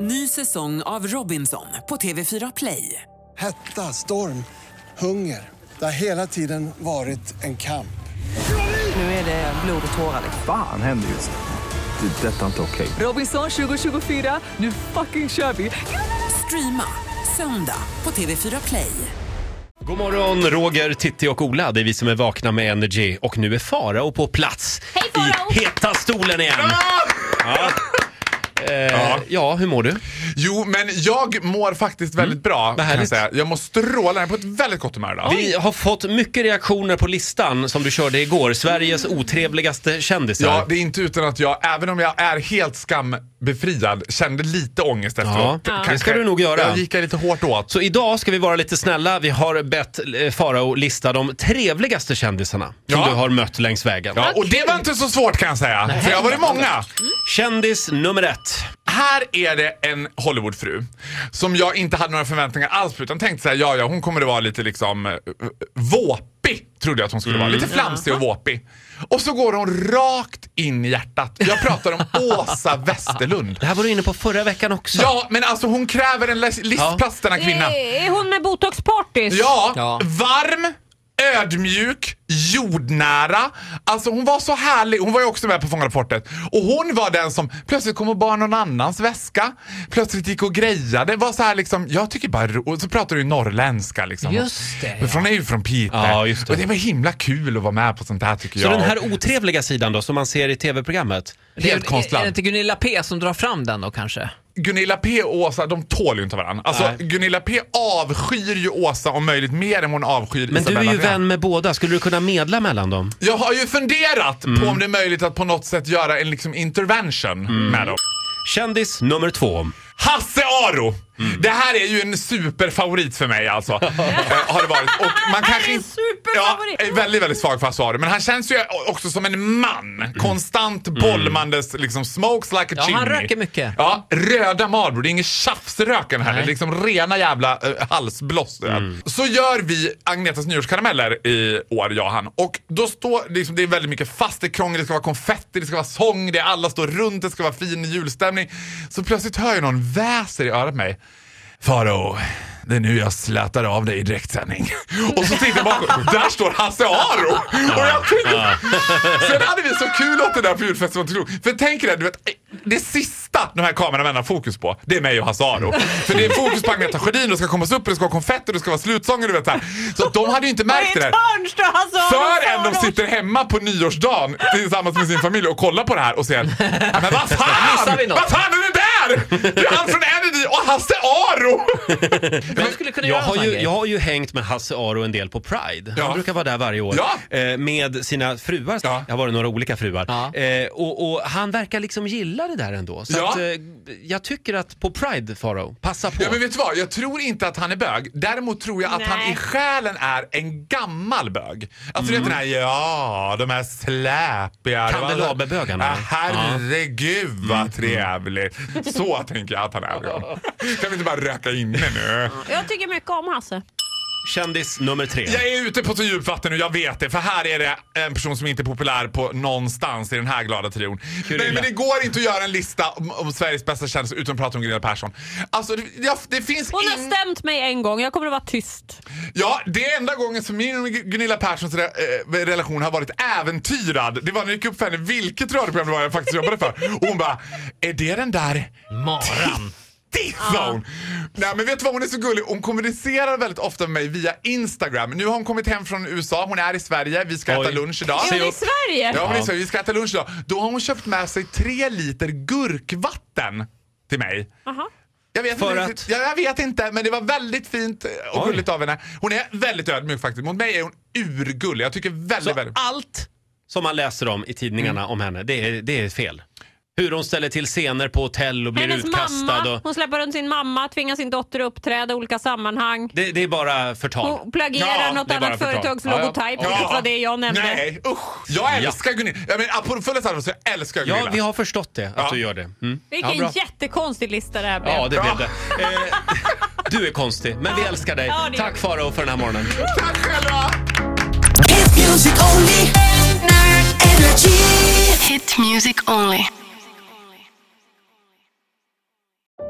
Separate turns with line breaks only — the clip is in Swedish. Ny säsong av Robinson på TV4 Play.
Hetta, storm, hunger. Det har hela tiden varit en kamp.
Nu är det blod och tårar. liksom.
Fan händer just nu. Det. är Detta är inte okej.
Robinson 2024, nu fucking kör vi! Streama söndag på TV4 Play.
God morgon, Roger, Titti och Ola. Det är vi som är vakna med Energy. Och nu är Farao på plats
Hej, Farao!
i heta stolen igen. Ja. Eh, ja. hur mår du?
Jo, men jag mår faktiskt väldigt bra. Kan jag,
Mm. härligt.
säga. jag mår strålande, jag är på ett väldigt gott humör idag.
Vi har fått mycket reaktioner på listan som du körde igår. Sveriges
Mm.
otrevligaste kändisar.
Ja, det är inte utan att jag, även om jag är helt skambefriad, kände lite ångest efteråt.
Ja, det
Kanske-
ska du nog göra.
Jag gick lite hårt åt.
Så idag ska vi vara lite snälla. Vi har bett eh, Farao lista de trevligaste kändisarna som
Ja.
du har mött längs vägen.
Ja, och det var inte så svårt kan jag säga, för jag har varit många.
Kändis nummer ett.
Här är det en Hollywoodfru som jag inte hade några förväntningar alls på utan tänkte såhär, ja ja hon kommer att vara lite liksom eh, våpig, trodde jag att hon skulle vara. Lite flamsig och våpig. Och så går hon rakt in i hjärtat. Jag pratar om Åsa Westerlund.
Det här var du inne på förra veckan också.
Ja, men alltså hon kräver en les- listplats denna kvinna.
Är, är hon med botoxpartys?
Ja, varm, ödmjuk, jordnära. Alltså hon var så härlig. Hon var ju också med på Fångarapportet. Och hon var den som plötsligt kom och bar någon annans väska. Plötsligt gick och grejade. Var så här liksom, jag tycker bara ro- Och så pratar du ju norrländska liksom.
Just det,
Men För hon är ju från Piteå.
Ja, just det.
Och det var himla kul att vara med på sånt här tycker
Så
jag.
den här otrevliga sidan då, som man ser i tv-programmet?
Helt konstlad.
Är det inte Gunilla P som drar fram den då kanske?
Gunilla P och Åsa, de tål ju inte varandra. Alltså,
Nej.
Gunilla P avskyr ju Åsa om möjligt mer än hon avskyr
Men du
Isabella
är ju
Andreasson.
vän med båda, skulle du kunna medla mellan dem?
Jag har ju funderat på om det är möjligt att på något sätt göra en liksom intervention med dem.
Kändis nummer två.
Hasse Aro! Det här är ju en superfavorit för mig alltså. Eh, har det varit. Och man kanske
är en
inte-
superfavorit.
Ja, är väldigt, väldigt svag för Hasse Aro. Men han känns ju också som en man. Konstant bollmandes, liksom smokes like a
Ja,
chimney.
han röker mycket.
Ja, röda Marlboro. Det är ingen tjafsröken här. Det är liksom rena jävla eh, halsbloss. Så gör vi Agnetas nyårskarameller i år, jag och han. Och då står, liksom, det är väldigt mycket fast, det är krångel, det ska vara konfetti, det ska vara sång, det är alla står runt, det ska vara fin julstämning. Så plötsligt hör jag någon väser i örat mig. Faro, det är nu jag slätar av dig i direktsändning. Och så tittar jag bakom, där står Hasse Aro! Och jag tänkte, sen hade vi så kul åt det där på julfesten. vad tror du? För tänk dig, du vet, det sista de här kameramän har fokus på, det är mig och Hasse Aro. För det är fokus på Agneta Sjödin, det ska kommas upp, och det ska vara konfetti, och det ska vara slutsånger, du vet så här. Så att de hade ju inte märkt det där. Förrän de sitter hemma på nyårsdagen tillsammans med sin familj och kollar på det här och säger "Ja, Men vad
Missar
fan!
vi något?"
Vad fan är det där? Det är han från Energy och Hasse Aro!
Vem skulle kunna
Jag
göra en
har,
sån
ju,
grej?
jag har ju hängt med Hasse Aro en del på Pride. Han
Ja.
brukar vara där varje år.
Ja.
Eh, med sina fruar.
Ja.
Jag har varit några olika fruar.
Ja.
Eh, och, och han verkar liksom gilla det där ändå. Så
Ja.
att, eh, jag tycker att på Pride, Faro, passa på.
Ja, men vet du vad? Jag tror inte att han är bög. Däremot tror jag att han i själen är en gammal bög. Alltså du vet den här, ja, de här släpiga...
Kandelaberbögarna,
Ah,
eller?
herregud vad trevligt. Så tänker jag att han är. Kan vi inte bara röka inne nu?
Jag tycker mycket om Hasse.
Kändis nummer tre.
Jag är ute på så djupt vatten och jag vet det. För här är det en person som inte är populär på någonstans i den här glada trion. Nej, men det går inte att göra en lista om, om Sveriges bästa kändis utan att prata om Gunilla Persson. Alltså, det, jag, det finns
Hon har
in-
stämt mig en gång, jag kommer att vara tyst.
Ja, det är enda gången som min och Gunilla Perssons re eh, relation har varit äventyrad. Det var när jag gick upp för henne vilket radioprogram det var jag faktiskt jobbade för. Och hon bara, är det den där
Maran.
Titti, sa hon. Nej men vet du vad, hon är så gullig. Hon kommunicerar väldigt ofta med mig via Instagram. Nu har hon kommit hem från USA, hon är i Sverige, vi ska
Oj.
äta lunch idag.
Är hon i Sverige?
Ja, hon är i Sverige, vi ska äta lunch idag. Då har hon köpt med sig tre liter gurkvatten till mig.
Aha.
Jag vet,
För
inte,
att-
riktigt. ja, jag vet inte, men det var väldigt fint och
Oj.
gulligt av henne. Hon är väldigt ödmjuk faktiskt. Mot mig är hon urgullig. Jag Mm. tycker väldigt,
Så
väldigt...
allt som man läser om i tidningarna om henne, det är, det är fel. Hur hon ställer till scener på hotell och blir
Hennes
utkastad.
mamma,
Och,
hon släpper runt sin mamma, tvingar sin dotter att uppträda i olika sammanhang.
det, det är bara förtal.
Hon plagierar
Ja,
något
det är bara
annat
förtal.
företags
Ja, ja.
logotyp,
Ja.
vilket var det jag nämnde.
Nej, usch! Jag älskar Gunilla. Jag menar, på fullaste allvar så älskar jag
Ja,
Gunilla.
vi har förstått det, att
Ja.
du gör det. Mm.
Vilken
bra.
jättekonstig lista det här blev.
Ja, det blev det. Eh, du är konstig, men vi älskar dig.
Ja, det gör
Tack
vi.
Farao för den här morgonen.
Tack själva!
Hit music only. Energy.
Hit music only.